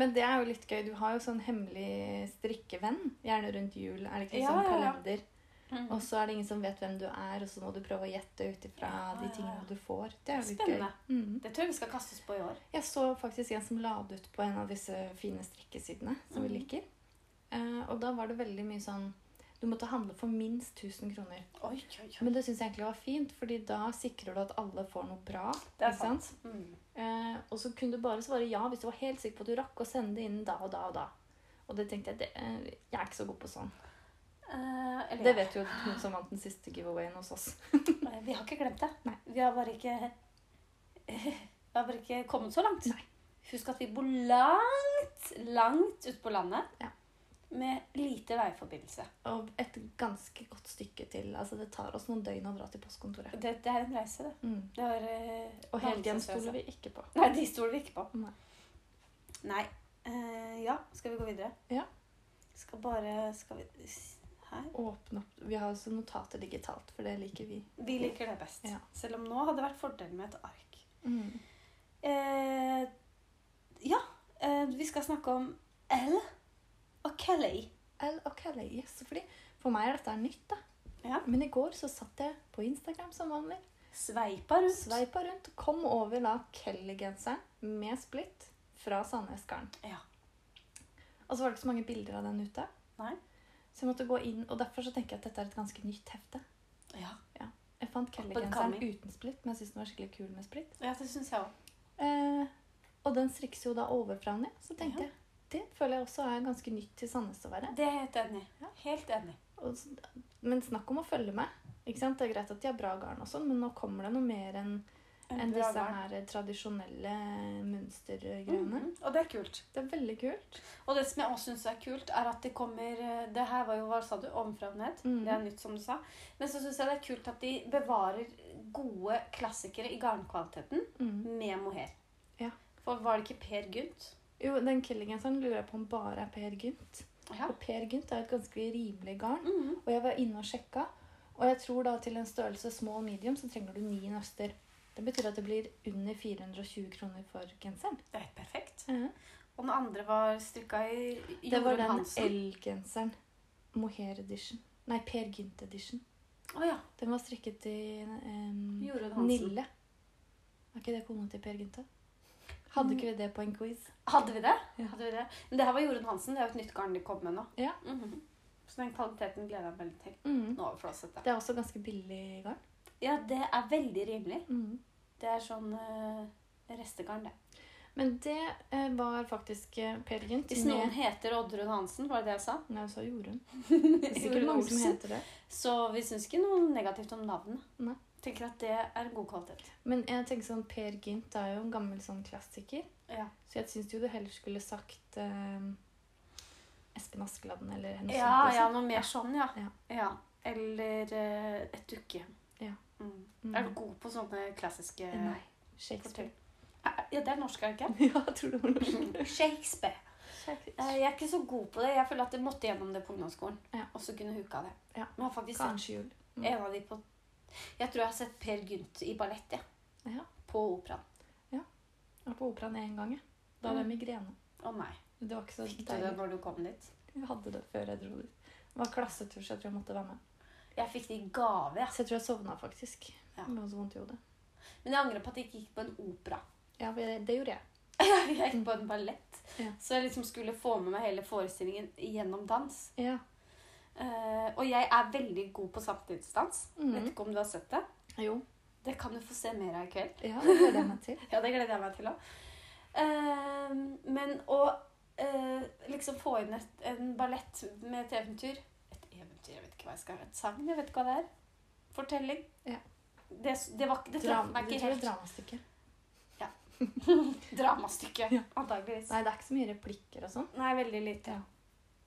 Men det er jo litt gøy. Du har jo sånn hemmelig strikkevenn. Gjerne rundt jul. Er det ikke Ja, sånn ja, ja. kalender? Mm. Og så er det ingen som vet hvem du er, og så må du prøve å gjette ut ifra Ja, de ja, ja. tingene du får. Det er jo litt Spennende. gøy. Mhm. Det tror jeg vi skal kaste oss på i år. Jeg så faktisk en som la det ut på en av disse fine strikkesidene som vi Mhm. liker. Eh, og da var det veldig mye sånn Du måtte handle for minst 1000 kroner. Oi, oi, oi. Men det syns jeg egentlig var fint, fordi da sikrer du at alle får noe bra. Det er ikke sant? sant. Mm. Eh, og så kunne du bare svare ja hvis du var helt sikker på at du rakk å sende det inn da og da og da. Og det tenkte jeg, det, eh, jeg er ikke så god på sånn. Eh, eller Det ja. vet jo hun som vant den siste giveawayen hos oss. Eh, Vi har ikke glemt det. Nei. Vi har bare ikke Vi har bare ikke kommet så langt. Nei. Husk at vi bor langt, langt ute på landet. Ja. Med lite veiforbindelse. Og et ganske godt stykke til. Altså, det tar oss noen døgn å dra til postkontoret. Det, det er en reise, det. Mm. det var, eh, Og helt hjem langtidsreise. stoler vi ikke på. Nei, de stoler vi ikke på. Nei. Nei. Eh, ja, skal vi gå videre? Ja. Skal bare Skal vi Her. Åpne opp. Vi har også notater digitalt, for det liker vi. Vi liker det best. Ja. Selv om nå hadde det vært fordelen med et ark. Mm. Eh, ja, eh, vi skal snakke om L og Kelly. L og Kelly, yes, fordi for meg er dette nytt, da. Ja. Men i går så satt jeg på Instagram som vanlig. Sveipa rundt. Sveipa rundt, kom over da Kelly-genseren med splitt fra Sandnesgarden. Ja. Og så var det ikke så mange bilder av den ute. Nei. Så jeg måtte gå inn, og derfor så tenker jeg at dette er et ganske nytt hefte. Ja, Jeg fant and Kelly-genseren coming. uten splitt, men jeg synes den var skikkelig kul med splitt. ja det syns jeg òg. Eh, og den strikkes jo da overfra og ned, så tenkte Ja. jeg. Det føler jeg også er ganske nytt til Sandnes å være. Det er jeg helt enig i. Ja. Helt enig. Og, s- men snakk om å følge med. Ikke sant? Det er greit at de har bra garn, og sånn, men nå kommer det noe mer enn enn Bra disse barn. her tradisjonelle mønstergreiene. Mhm, Og det er kult. Det er veldig kult. Og det som jeg også syns er kult, er at det kommer eh, Det her var jo hva sa du? Ovenfra og ned. Mhm. Det er nytt, som du sa. Men så syns jeg det er kult at de bevarer gode klassikere i garnkvaliteten Mm. med mohair. Ja. For var det ikke Per Gynt? Jo, den kellergenseren lurer jeg på om bare er Per Gynt. Ja. Og Per Gynt er jo et ganske rimelig garn. Mhm. Og jeg var inne og sjekka, og jeg tror da til en størrelse small og medium så trenger du ni nøster. Det betyr at det blir under 420 kroner for genseren. Det er helt perfekt. Og den andre var strikka i Det var Jorunn den Hansen. L-genseren. Mohair edition. Nei, Per Gynt edition. Å ja. Den var strikket i em, Jorunn Hansen. Nille. Er ikke det kona til Per Gynte? Hadde ikke vi det på en quiz? Hadde vi det? Ja. Hadde vi det? Men det her var Jorunn Hansen. Det er jo et nytt garn de kom med nå. Ja. Mhm. Så den kvaliteten gleder jeg meg litt til. Nå er vi flåsete. Det er også ganske billig garn. Ja, det er veldig rimelig. Det er sånn eh, restegarn, det. Men det eh, var faktisk eh, Per Gynt Hvis noen heter Oddrun Hansen, var det det jeg sa? Nei, så Jorunn. Det er sikkert Jorunn mange som Olsen. heter det. Så vi syns ikke noe negativt om navnet. Nei. Tenker at det er en god kvalitet. Men jeg tenker sånn, Per Gynt er jo en gammel sånn klassiker. Ja. Så jeg syns jo du heller skulle sagt em, Espen Askeladden eller noe Ja, sånt. ja, liksom. noe mer sånn, ja. Ja. Eller eh, et dukke. Ja. Mm. Mm. Eh, Er du god på sånne klassiske Nei. fortell? Shakespeare. Ja, det er norsk, er det ikke? ja, jeg tror det var norsk. Shakespeare. Eh, Shakespeare. Jeg er ikke så god på det. Jeg føler at jeg måtte gjennom det på ungdomsskolen. Ja. Og så kunne huka det. Ja. Men jeg har faktisk sett Kanskje jul. Mm. en av de på Jeg tror jeg har sett Per Gynt i ballett, jeg. Ja. På operaen. Jeg var på operaen én gang. jeg. Da hadde jeg migrene. Å nei. Det var ikke så Mm. Fikk du det deilig. når du kom dit? Jeg hadde det før jeg dro dit. Det var klassetur, så jeg tror jeg måtte være med. Jeg fikk det i gave. jeg. Så jeg tror jeg sovna faktisk. Ja. Det var så vondt i hodet. Men jeg angrer på at jeg ikke gikk på en opera. Ja, for det, det gjorde jeg. Jeg gikk på en ballett. Ja. Så jeg liksom skulle få med meg hele forestillingen gjennom dans. Ja. Eh, og jeg er veldig god på samtidsdans. Vet Mhm. ikke om du har sett det. Jo. Det kan du få se mer av i kveld. Ja, det gleder jeg meg til. Ja, det gleder jeg meg til òg. men å eh, liksom få inn et, en ballett med et eventyr Et eventyr, jeg vet ikke hva jeg skal Et sagn, jeg vet ikke hva det er. Fortelling. Ja. Det, det, var, det traff Dram, meg du ikke tror det er helt. dramastykke? Dramastykke, Ja. antageligvis. Nei, det er ikke så mye replikker og sånn. Nei, veldig lite. Ja.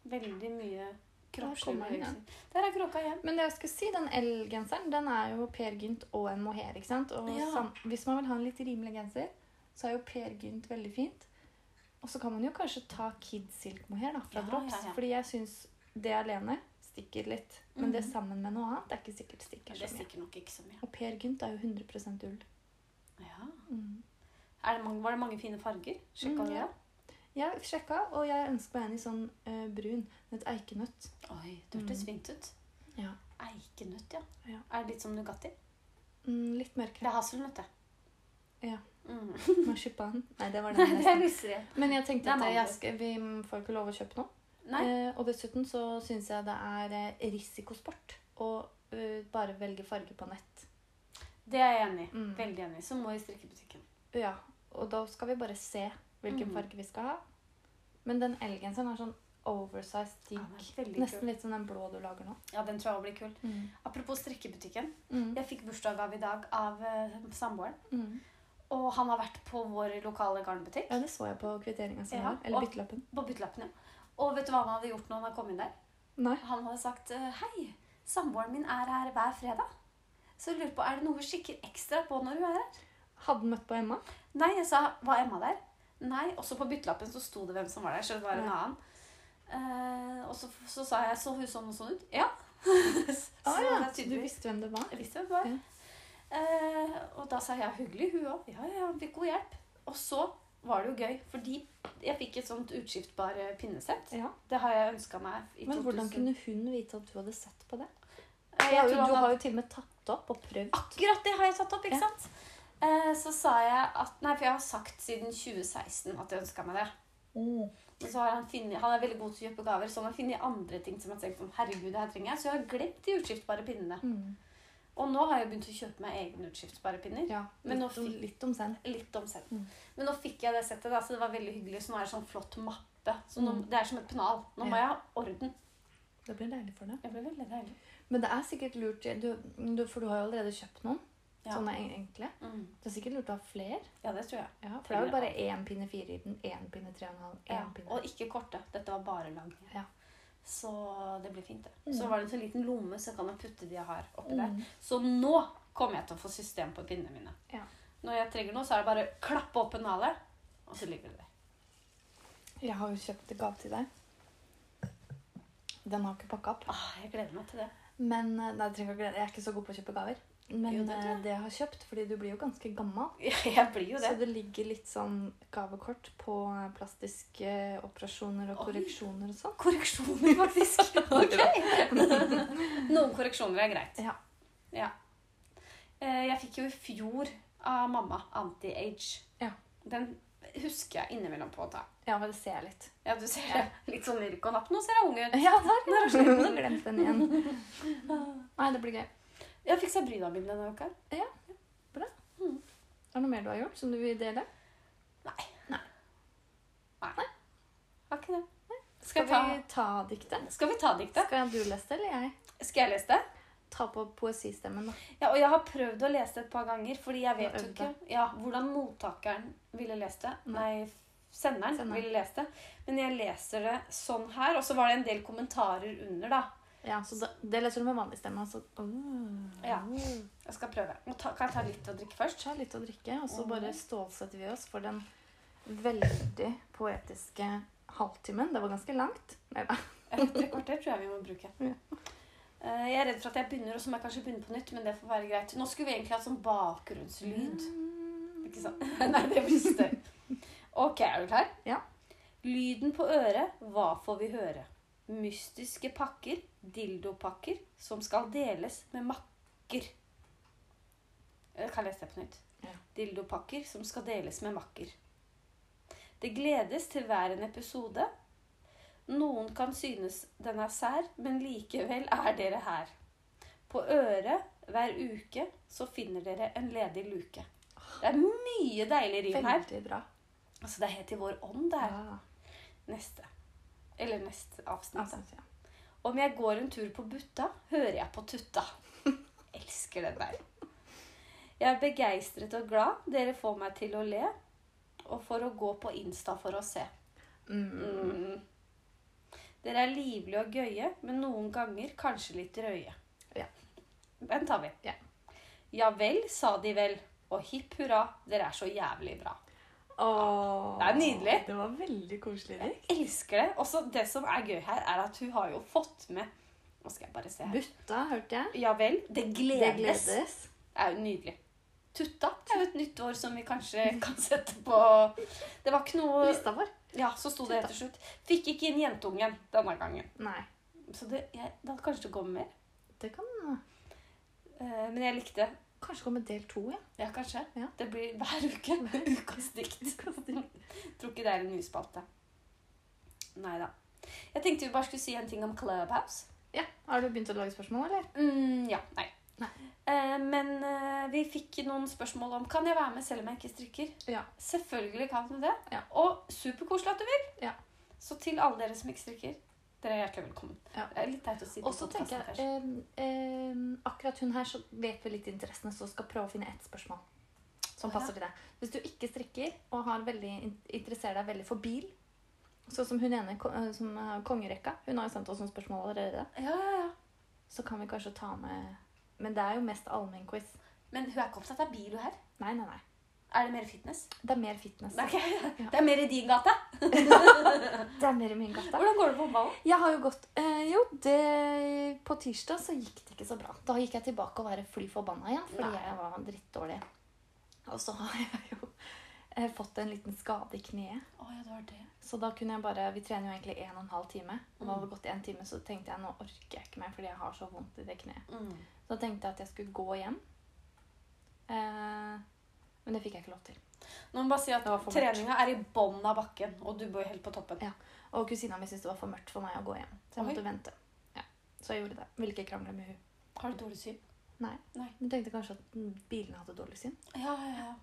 Veldig mye kom han kroppslige Der er kråka igjen. Men det jeg skulle si, den L-genseren den er jo Per Gynt og en mohair. ikke sant? Og Ja. sam, Hvis man vil ha en litt rimelig genser, så er jo Per Gynt veldig fint. Og så kan man jo kanskje ta Kid Silk mohair da, fra Ja, Drops. ja, ja. Fordi jeg syns det alene stikker litt. Men det Mhm. sammen med noe annet det er ikke sikkert stikker Det så mye. stikker nok ikke så mye. Og Per Gynt er jo 100 ull. Ja. Mm. Er det mange, var det mange fine farger? Sjekka Mm, du ja. det? Jeg sjekka, og jeg ønsker meg en i sånn eh, brun med et eikenøtt. Oi, det hørtes Mm. fint ut. Ja. Eikenøtt, ja. Ja. Er det litt som Nugatti? Mm, litt Det mørkere. er hasselnøtt, det. Ja. Mm. Marsipan. Nei, det var Nei, den. jeg det sa. visste jeg. Men jeg tenkte Det er at jeg mandel. skal, vi får ikke lov å kjøpe noe. Nei. Eh, og dessuten så syns jeg det er eh, risikosport å eh, bare velge farge på nett. Det er jeg enig i. Mm. Veldig enig. Så må i strikkebutikken. Ja, Og da skal vi bare se hvilken Mhm. farge vi skal ha. Men den elgenseren er sånn oversized, Ja, digg. den er veldig Nesten litt som den blå du lager nå. Ja, den tror jeg også blir kul. Mm. Apropos strikkebutikken. Mm. Jeg fikk bursdagsgave i dag av eh, samboeren. Mm. Og han har vært på vår lokale garnbutikk. Ja, det så jeg på kvitteringa som Ja, var. Eller og- byttelappen. På byttelappen, ja. Og vet du hva han hadde gjort når han hadde kommet inn der? Nei. Han hadde sagt eh, Hei, samboeren min er her hver fredag. Så jeg lurer på, er det noe hun kikker ekstra på når hun er her? Hadde den møtt på Emma. Nei, jeg sa Var Emma der? Nei. Også på byttelappen så sto det hvem som var der. Så det var en Ja. annen. Eh, og så, så sa jeg Så hun sånn og sånn ut? Ja. så Ah, ja. det er Du tydeligvis- visste hvem det var? Jeg visste hvem det var. Ja. Eh, og da sa jeg hyggelig, hun òg. Ja, ja, fikk god hjelp. Og så var det jo gøy, fordi jeg fikk et sånt utskiftbar eh, pinnesett. Ja. Det har jeg ønska meg i Men 2000. hvordan kunne hun vite at du hadde sett på det? Eh, Du jeg har jo, tror han du hadde- har jo til og med tatt opp og prøvd. Akkurat det har jeg tatt opp, ikke Ja. sant? Eh, så sa jeg at Nei, for jeg har sagt siden 2016 at jeg ønska meg det. Men så har han funnet Han er veldig god til å kjøpe gaver, så han har funnet andre ting som jeg har tenkt sånn Herregud, det her trenger jeg. Så jeg har glemt de utskiftbare pinnene. Mm. Og nå har jeg begynt å kjøpe meg egne utskiftbare pinner. Ja, Men nå litt, om- fikk- litt om sen. litt om selv. Mm. Men nå fikk jeg det settet, da, så det var veldig hyggelig. Så nå er det sånn flott mappe. Så nå, Mm. Det er som et pennal. Nå Ja. må jeg ha orden. Det blir deilig for deg. Det blir veldig deilig. Men det er sikkert lurt, du, du, for du har jo allerede kjøpt noen. Ja. Sånne en- enkle. Mm. Det er sikkert lurt å ha flere. ja, det tror jeg. Ja, for det er jo bare én pinne fire i den, én pinne tre og en halv, én Ja. pinne Og ikke korte. Dette var bare lange. Ja. Så det blir fint, det. Mm. Så var det en sånn liten lomme, så jeg kan jeg putte de jeg har, oppi der. Mm. Så nå kommer jeg til å få system på pinnene mine. Ja. Når jeg trenger noe, så er det bare å klappe opp pennalet, og så ligger det der. Jeg har jo kjøpt en gave til deg. Den har ikke pakka opp. Ah, jeg gleder meg til det. Men eh, nei, du trenger ikke å glede. Jeg er ikke så god på å kjøpe gaver. Men Jo, det eh, tror det jeg. jeg har kjøpt, fordi du blir jo ganske gammel, Jeg blir jo det. så det ligger litt sånn gavekort på eh, plastiske eh, operasjoner og Oi. korreksjoner og sånn. Korreksjoner, faktisk. Ok. Noen korreksjoner er greit. Ja. Ja. Eh, Jeg fikk jo i fjor av mamma anti-age. Ja. Den husker jeg innimellom på å ta. Ja, men det ser jeg litt. Ja, du ser det. Litt sånn lirk og napp. Nå ser jeg ung ut. Ja, der har jeg glemt den igjen. Nei, det blir gøy. Jeg fiksa bryna mine denne uka. Er det noe mer du har gjort som du vil dele? Har ikke det. Skal Skal, vi ta diktet? vi... Skal vi ta diktet? Skal du lese det, eller jeg? Skal jeg lese det? Ta på poesistemmen, da. Ja, og jeg har prøvd å lese det et par ganger, fordi jeg vet jo øvd ikke ja, hvordan mottakeren ville lest det. Nei, Nei. senderen, Senderen. ville lest det. Men jeg leser det sånn her, og så var det en del kommentarer under, da. Ja, så da, Det leser du med vanlig stemme. Altså. Åh. Ja. Mm. Jeg skal prøve. Nå ta, kan jeg ta litt å drikke først? Ta litt å drikke, og så Mhm. bare stålsetter vi oss for den veldig poetiske halvtimen. Det var ganske langt. Nei da. Et tre kvarter tror jeg vi må bruke. Ja. Eh, Jeg er redd for at jeg begynner, og så må jeg kanskje begynne på nytt, men det får være greit. Nå skulle vi egentlig hatt sånn bakgrunnslyd. Ikke sant? Nei, det blir støy. Ok, er du klar? Ja. Lyden på øret, hva får vi høre? Mystiske pakker, dildopakker, som skal deles med makker. Jeg kan lese det på nytt. Ja. Dildopakker som skal deles med makker. Det gledes til hver en episode. Noen kan synes den er sær, men likevel er dere her. På øret hver uke så finner dere en ledig luke. Det er mye deilig rim her. Mm, Veldig bra. Altså, det er helt i vår ånd, det her. Ja. Neste. Eller neste avsnitt. Altså, da. ja. Om jeg går en tur på butta, hører jeg på tutta. Elsker den der. Jeg er begeistret og glad. Dere får meg til å le. Og for å gå på Insta for å se. Mm. Mm. Dere er livlige og gøye, men noen ganger kanskje litt drøye. Ja. Den tar vi. Ja. Ja vel, sa de vel. Og hipp hurra, dere er så jævlig bra. Åh, Det er nydelig. Det var veldig koselig. Erik. Elsker det. Også det som er gøy her, er at hun har jo fått med Nå skal jeg bare se her. Butta, hørte jeg. Ja vel. Det Det gledes. Det, gledes. er jo nydelig. Tutta er jo et nytt ord som vi kanskje kan sette på Det var ikke noe Lista vår? Ja, så sto det Tutta. til slutt. Fikk ikke inn jentungen denne gangen. Nei. Så det, jeg, da kanskje det kommer mer. Det kan Eh, men jeg likte kanskje komme del to, ja. Ja, kanskje. Ja. Det blir hver uke. Ukas dikt. Tror ikke det er en ny spalte. Nei da. Jeg tenkte vi bare skulle si en ting om Clubhouse. ja. Har du begynt å lage spørsmål, eller? Mm, ja, nei. Nei. Eh, men eh, vi fikk noen spørsmål om kan jeg være med selv om jeg ikke strikker. Ja. Selvfølgelig kan du det. Ja. Og superkoselig at du vil. Ja. Så til alle dere som ikke strikker, dere er hjertelig velkommen. Ja. Det er litt teit å si det Og på så podcasten, tenker jeg, kanskje. eh, eh, akkurat hun her så vet vi litt interessene, så skal prøve å finne ett spørsmål som Å, ja. passer til deg. Hvis du ikke strikker og har veldig, in- interesserer deg veldig for bil, sånn som hun ene ko- eh, som har kongerekka, hun har jo sendt oss noen spørsmål allerede, Ja, ja, ja. så kan vi kanskje ta med Men det er jo mest allmennquiz. Men hun er ikke opptatt av bil, hun her. Nei, nei, nei. Er det mer fitness? Det er mer fitness. Det er, ikke, Altså. Ja. det er mer i din gate. Det er mer i min gata. Hvordan går det på håndballen? Jeg har jo gått eh, Jo, det På tirsdag så gikk det ikke så bra. Da gikk jeg tilbake og var fly forbanna igjen, fordi Nei. jeg var drittdårlig. Og så har jeg jo eh, fått en liten skade i kneet. Å ja, det var det. Så da kunne jeg bare Vi trener jo egentlig en og en halv time. Og da Mm. hadde det gått en time, så tenkte jeg nå orker jeg ikke mer fordi jeg har så vondt i det kneet. Mm. Så da tenkte jeg at jeg skulle gå hjem. Eh, men det fikk jeg ikke lov til. Nå må vi bare si at Det var for mørkt. treninga er i bånn av bakken, og du bor jo helt på toppen. Ja. Og kusina mi syntes det var for mørkt for meg å gå hjem. Så jeg Oi. måtte vente. Ja. Så jeg gjorde det. Ville ikke krangle med hun. Har du dårlig syn? Hun tenkte kanskje at mm, bilene hadde dårlig syn. Ja, ja, ja.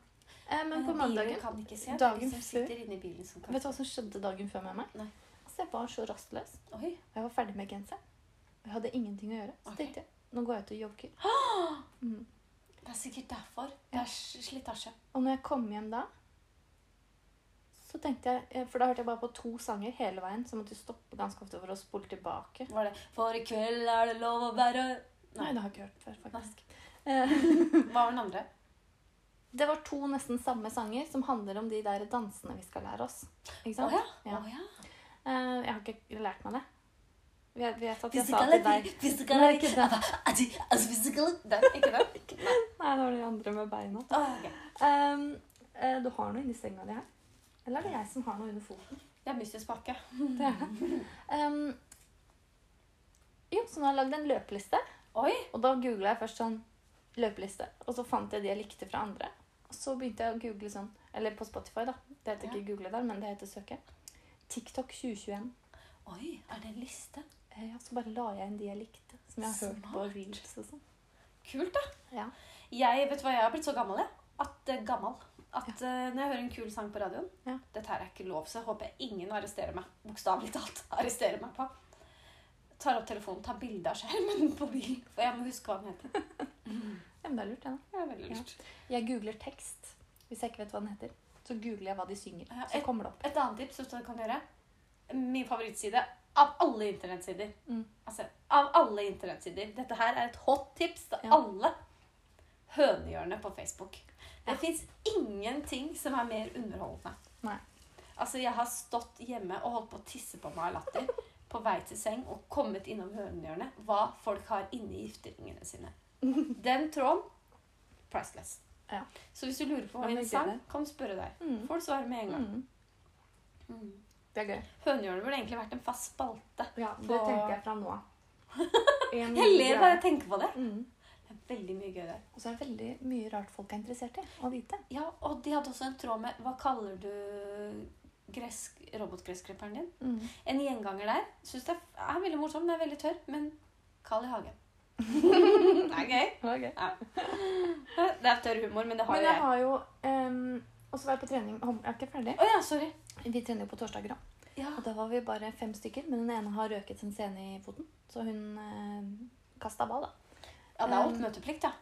Eh, men på mandagen Bilen kan ikke se. dagen det er de som før- sitter inne i bilen som kan Vet du hva som skjedde dagen før med meg? Nei. Altså, Jeg var så rastløs. Oi. Og jeg var ferdig med genseren. Og jeg hadde ingenting å gjøre. Så Ok. tenkte jeg nå går jeg ut og jogger. Mm. Det er sikkert derfor. Det er s- slitasje. Og når jeg kom hjem da, så tenkte jeg eh, For da hørte jeg bare på to sanger hele veien, så jeg måtte stoppe ganske ofte for å spole tilbake. Var det 'For i kveld er det lov å være Nei, Nei. det har jeg ikke hørt før, faktisk. Eh, Mm. Hva var den andre? Det var to nesten samme sanger som handler om de der dansene vi skal lære oss. Ikke Å sant? ja. Ja. Å, ja. Eh, Jeg har ikke lært meg det. Jeg vet at jeg sa til deg Physical- physical- Nei, ikke den. Adi, altså, physical- Den, ikke den? Nei, det var de andre med beina. Å, ok. Ehm, eh, du har noe inni senga di her? Eller er det jeg som har noe under foten? Det er mystisk pakke. Det er det. Ehm, jo, så nå har jeg lagd en løpeliste. Oi. Og da googla jeg først sånn løpeliste, og så fant jeg de jeg likte fra andre. Og så begynte jeg å google sånn, eller på Spotify, da. Det heter ikke google der, men det heter søke. TikTok 2021. Oi, er det en liste? Eh, Ja, så bare la jeg inn de jeg likte, som jeg har hørt på Smart. reels og sånn. Kult, da. Ja. Jeg vet du hva, jeg har blitt så gammel, jeg. At, eh, gammel. At eh, Når jeg hører en kul sang på radioen Ja. Dette her er ikke lov, så jeg håper jeg ingen arresterer meg. Bokstavelig talt. Arresterer meg på. Tar opp telefonen, tar bilde av skjermen på bilen. For jeg må huske hva den heter. Ja, men det er lurt, det. da. Det er veldig Ja. lurt. Jeg googler tekst. Hvis jeg ikke vet hva den heter, så googler jeg hva de synger. Ja, Så et- kommer det opp. Et annet tips du kan gjøre Min favorittside av alle internettsider. Mm. Altså, av alle internettsider. Dette her er et hot tips til Ja. alle. Hønehjørnet på Facebook. Det Ja. fins ingenting som er mer underholdende. Nei. Altså, jeg har stått hjemme og holdt på å tisse på meg av latter på vei til seng og kommet innom hønehjørnet. Hva folk har inni gifteringene sine. Den tråden priceless. Ja. Så hvis du lurer på Ja, hva men en gøy sang, det. kan du spørre deg. Mm. Får du svar med en gang. Mm. Mm. Det er gøy. Hønehjørnet burde egentlig vært en fast spalte. Ja, det På- tenker jeg fra nå av. En Jeg greie. ler bare jeg tenker på det. Mm. Det er veldig mye gøy der. Og så er det veldig mye rart folk er interessert i å vite. Ja, og de hadde også en tråd med Hva kaller du gress, robotgressklipperen din? Mm. En gjenganger der. Syns det er veldig morsom. Den er veldig tørr, men Carl I. Hagen. det er gøy. Det er tørr humor, men det har Men jo jeg jeg. har jo ehm, også vært på trening. Hom- Jeg er ikke ferdig. Å ja, sorry. Vi trener jo på torsdager, da. Ja. Og da var vi bare fem stykker. Men den ene har røket sin sene i foten, så hun uh, kasta ball, da. ja, det er oppmøteplikt, ja.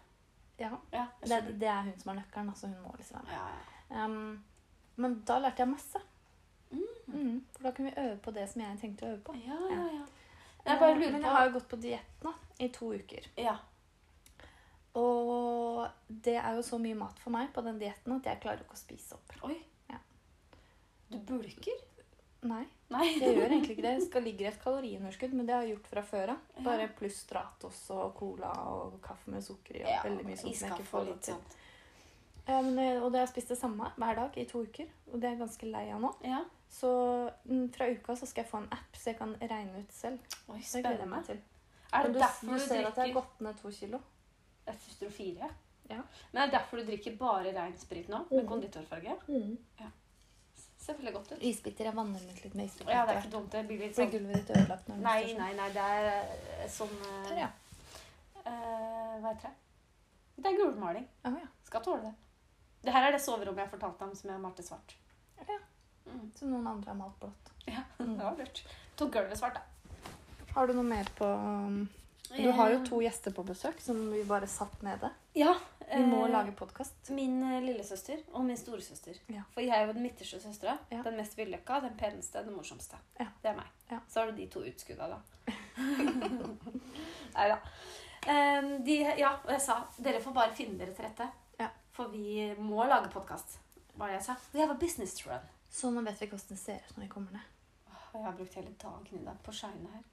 Ja. Ja, Det, jeg skjønner. det er hun som er nøkkelen, altså. Hun må liksom være med. Ja, ja. Ehm, men da lærte jeg masse. Mm, for da kunne vi øve på det som jeg tenkte å øve på. Ja, ja, ja. Jeg bare Eh, lurer men jeg på har jo gått på diett nå i to uker. Ja. Og det er jo så mye mat for meg på den dietten at jeg klarer ikke å spise opp. Oi. Ja. Du bulker? Nei, Nei. jeg gjør egentlig ikke det. Jeg skal ligge i et kaloriunderskudd, men det har jeg gjort fra før av. Bare pluss Stratos og cola og kaffe med sukker i og Ja, veldig mye sånt som jeg iskaffe ikke får og lov litt sånn. til. sånt. Eh, men, eh, og det har jeg spist det samme hver dag i to uker, og det er jeg ganske lei av nå. Ja. Så mm, fra uka så skal jeg få en app, så jeg kan regne ut selv. Oi, Det gleder jeg spennende. meg til. Er Og det du, derfor du du ser at jeg har drikker gått ned to kilo. Jeg synes du er fire. Ja. Men er det derfor du drikker bare rein sprit nå, med Mhm. konditorfarge? Mm. Ser veldig godt ut. Isbiter. Jeg vanner ut litt med isbiter. Ja, det er ikke dumt. Det blir litt Blir sånn gulvet ditt ødelagt når du Nei, står sånn? nei, nei. Det er eh, sånn eh, Der, ja. eh, Hva heter det? Det er gulmaling. Å, ja. Skal tåle det. Det her er det soverommet jeg fortalte om som jeg malte svart. Ja. Mm. Så noen andre har malt blått. Ja, Mm. det var lurt. Tok gulvet svart, da. Har du noe mer på um, Du har jo to gjester på besøk som vi bare satt nede. Ja. Vi må eh, lage podkast. Min eh, lillesøster og min storesøster. Ja. For jeg er jo den midterste søstera. Ja. Den mest vellykka, den peneste, den morsomste. Ja. Det er meg. Ja. Så har du de to utskudda, da. Nei da. Em, Ehm, de, ja, og jeg sa dere får bare finne dere til rette. Ja. For vi må lage podkast. Hva var det jeg sa? We have a business to run. Så nå vet vi hvordan det ser ut når vi kommer ned. Åh, Jeg har brukt hele dagen i dag på å shine her.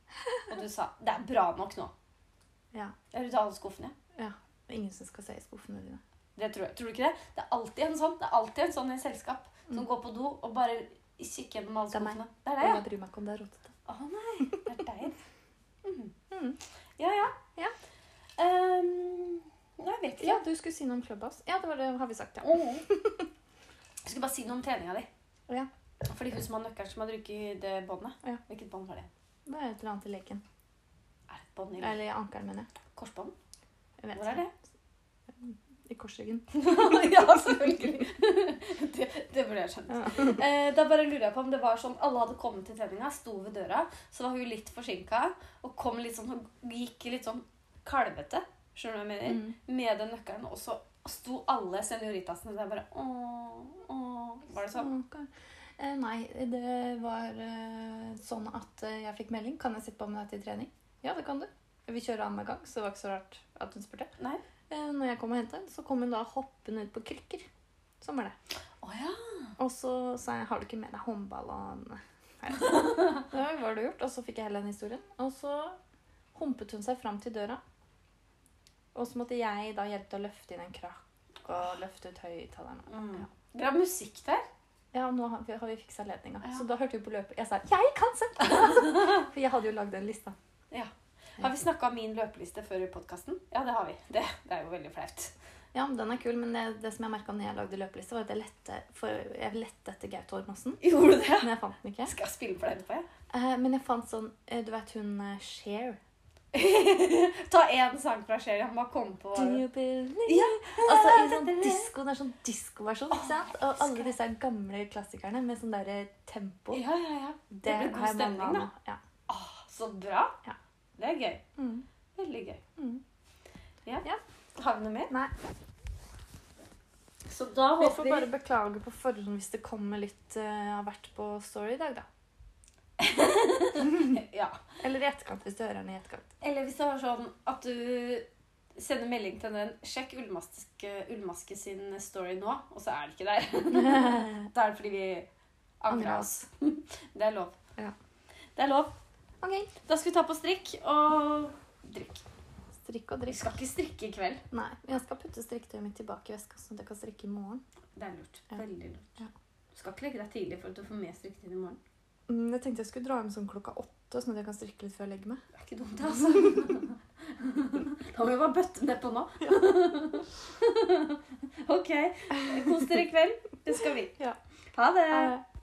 Og du sa det er bra nok nå. Ja. Jeg har rydda alle skuffene. Det er Ingen som skal se i skuffene dine. Det tror jeg. Tror du ikke det? Det er alltid en sånn Det er alltid en sånn i selskap som Mm. går på do og bare kikker gjennom alle Det er meg. skuffene. Det er Og deg, ja. jeg bryr meg ikke om det er rotete. Å nei, det er deg. Mhm. Mhm. Ja, ja. Ja. Ehm, nei, jeg vet ikke. Ja, du skulle si noe om Clubhouse. Ja, det var det har vi sagt, ja. Mhm. Jeg skulle bare si noe om treninga di. Ja. Fordi hun som har nøkkelen som har drukket det båndet. Ja. Hvilket bånd var det? Det er et eller annet i leken. Er det et bånd i Eller i ankelen, mener jeg. korsbånd? jeg vet Hvor er det? ikke. I korsryggen. ja, selvfølgelig. det, det burde jeg skjønt. Ja. Eh, da bare lurer jeg på om det var sånn alle hadde kommet til treninga, sto ved døra, så var hun litt forsinka og kom litt sånn, og gikk litt sånn kalvete, skjønner du hva jeg mener? Mm. Med den nøkkelen, og så sto alle senoritasene der bare åh, åh. Var det sånn? Ok. Eh, nei, det var eh, sånn at eh, jeg fikk melding. Kan jeg sitte på med deg til trening? Ja, det kan du. Vi kjører annenhver gang, så det var ikke så rart at hun spurte. Nei. Eh, når jeg kom og hentet henne, så kom hun da hoppende ut på krykker. Sånn var det. Å ja. Og så sa jeg har du ikke med deg håndball og Nei. Det var hva du gjort. Og så fikk jeg hele den historien. Og så humpet hun seg fram til døra. Og så måtte jeg da hjelpe til å løfte inn en krakk og løfte ut høyttalerne. Mm. Bra musikk der. Ja, nå har vi, har vi fiksa ledninga. Ja. Så da hørte vi på løpet. Jeg sa 'jeg kan selv'! For jeg hadde jo lagd den lista. Har vi snakka om min løpeliste før i podkasten? Ja, det har vi. Det, det er jo veldig flaut. Ja, men den er kul, men det, det som jeg merka når jeg lagde løpeliste, var at jeg lette, for, jeg lette etter Gaute Ormåsen. Gjorde du det? Men jeg fant den ikke. Skal jeg spille for deg etterpå, jeg? Eh, men jeg fant sånn eh, Du vet hun eh, Cher? Ta én sang fra Sherry. Han bare kom på Do you believe Ja. Altså i sånn disco, Det er sånn diskoversjon. ikke sant? Og alle disse gamle klassikerne med sånn derre tempo. Ja, ja, ja. Det, blir har god jeg mange av stemning, da. nå. Ja. Ah, så bra. Ja. Det er gøy. Mm. Veldig gøy. Mm. Ja. Ja. Har vi noe mer? Nei. Så da Vi håper får vi bare beklage på forhånd hvis det kommer litt eh, av hvert på story i dag, da. ja. Eller i etterkant, hvis du hører den i etterkant. Eller hvis det var sånn at du sender melding til den Sjekk Ullmaske, Ullmaske sin story nå, og så er det ikke der. da er det fordi vi angra Angra oss. det er lov. Ja. Det er lov. OK. Da skal vi ta på strikk og drikk. Strikk og Vi drikk. skal ikke strikke i kveld. Nei, jeg skal putte strikketøyet mitt tilbake i veska, sånn at jeg kan strikke i morgen. Det er lurt. Ja. Veldig lurt. Ja. Du skal ikke legge deg tidlig for at du får mer strikketid i morgen. Mm, Jeg tenkte jeg skulle dra hjem sånn klokka åtte, sånn at jeg kan strikke litt før jeg legger meg. Det er ikke dumt, altså. da må vi bare bøtte nedpå nå. ok. Kos dere i kveld. Det skal vi. Ja. Ha det. Eh,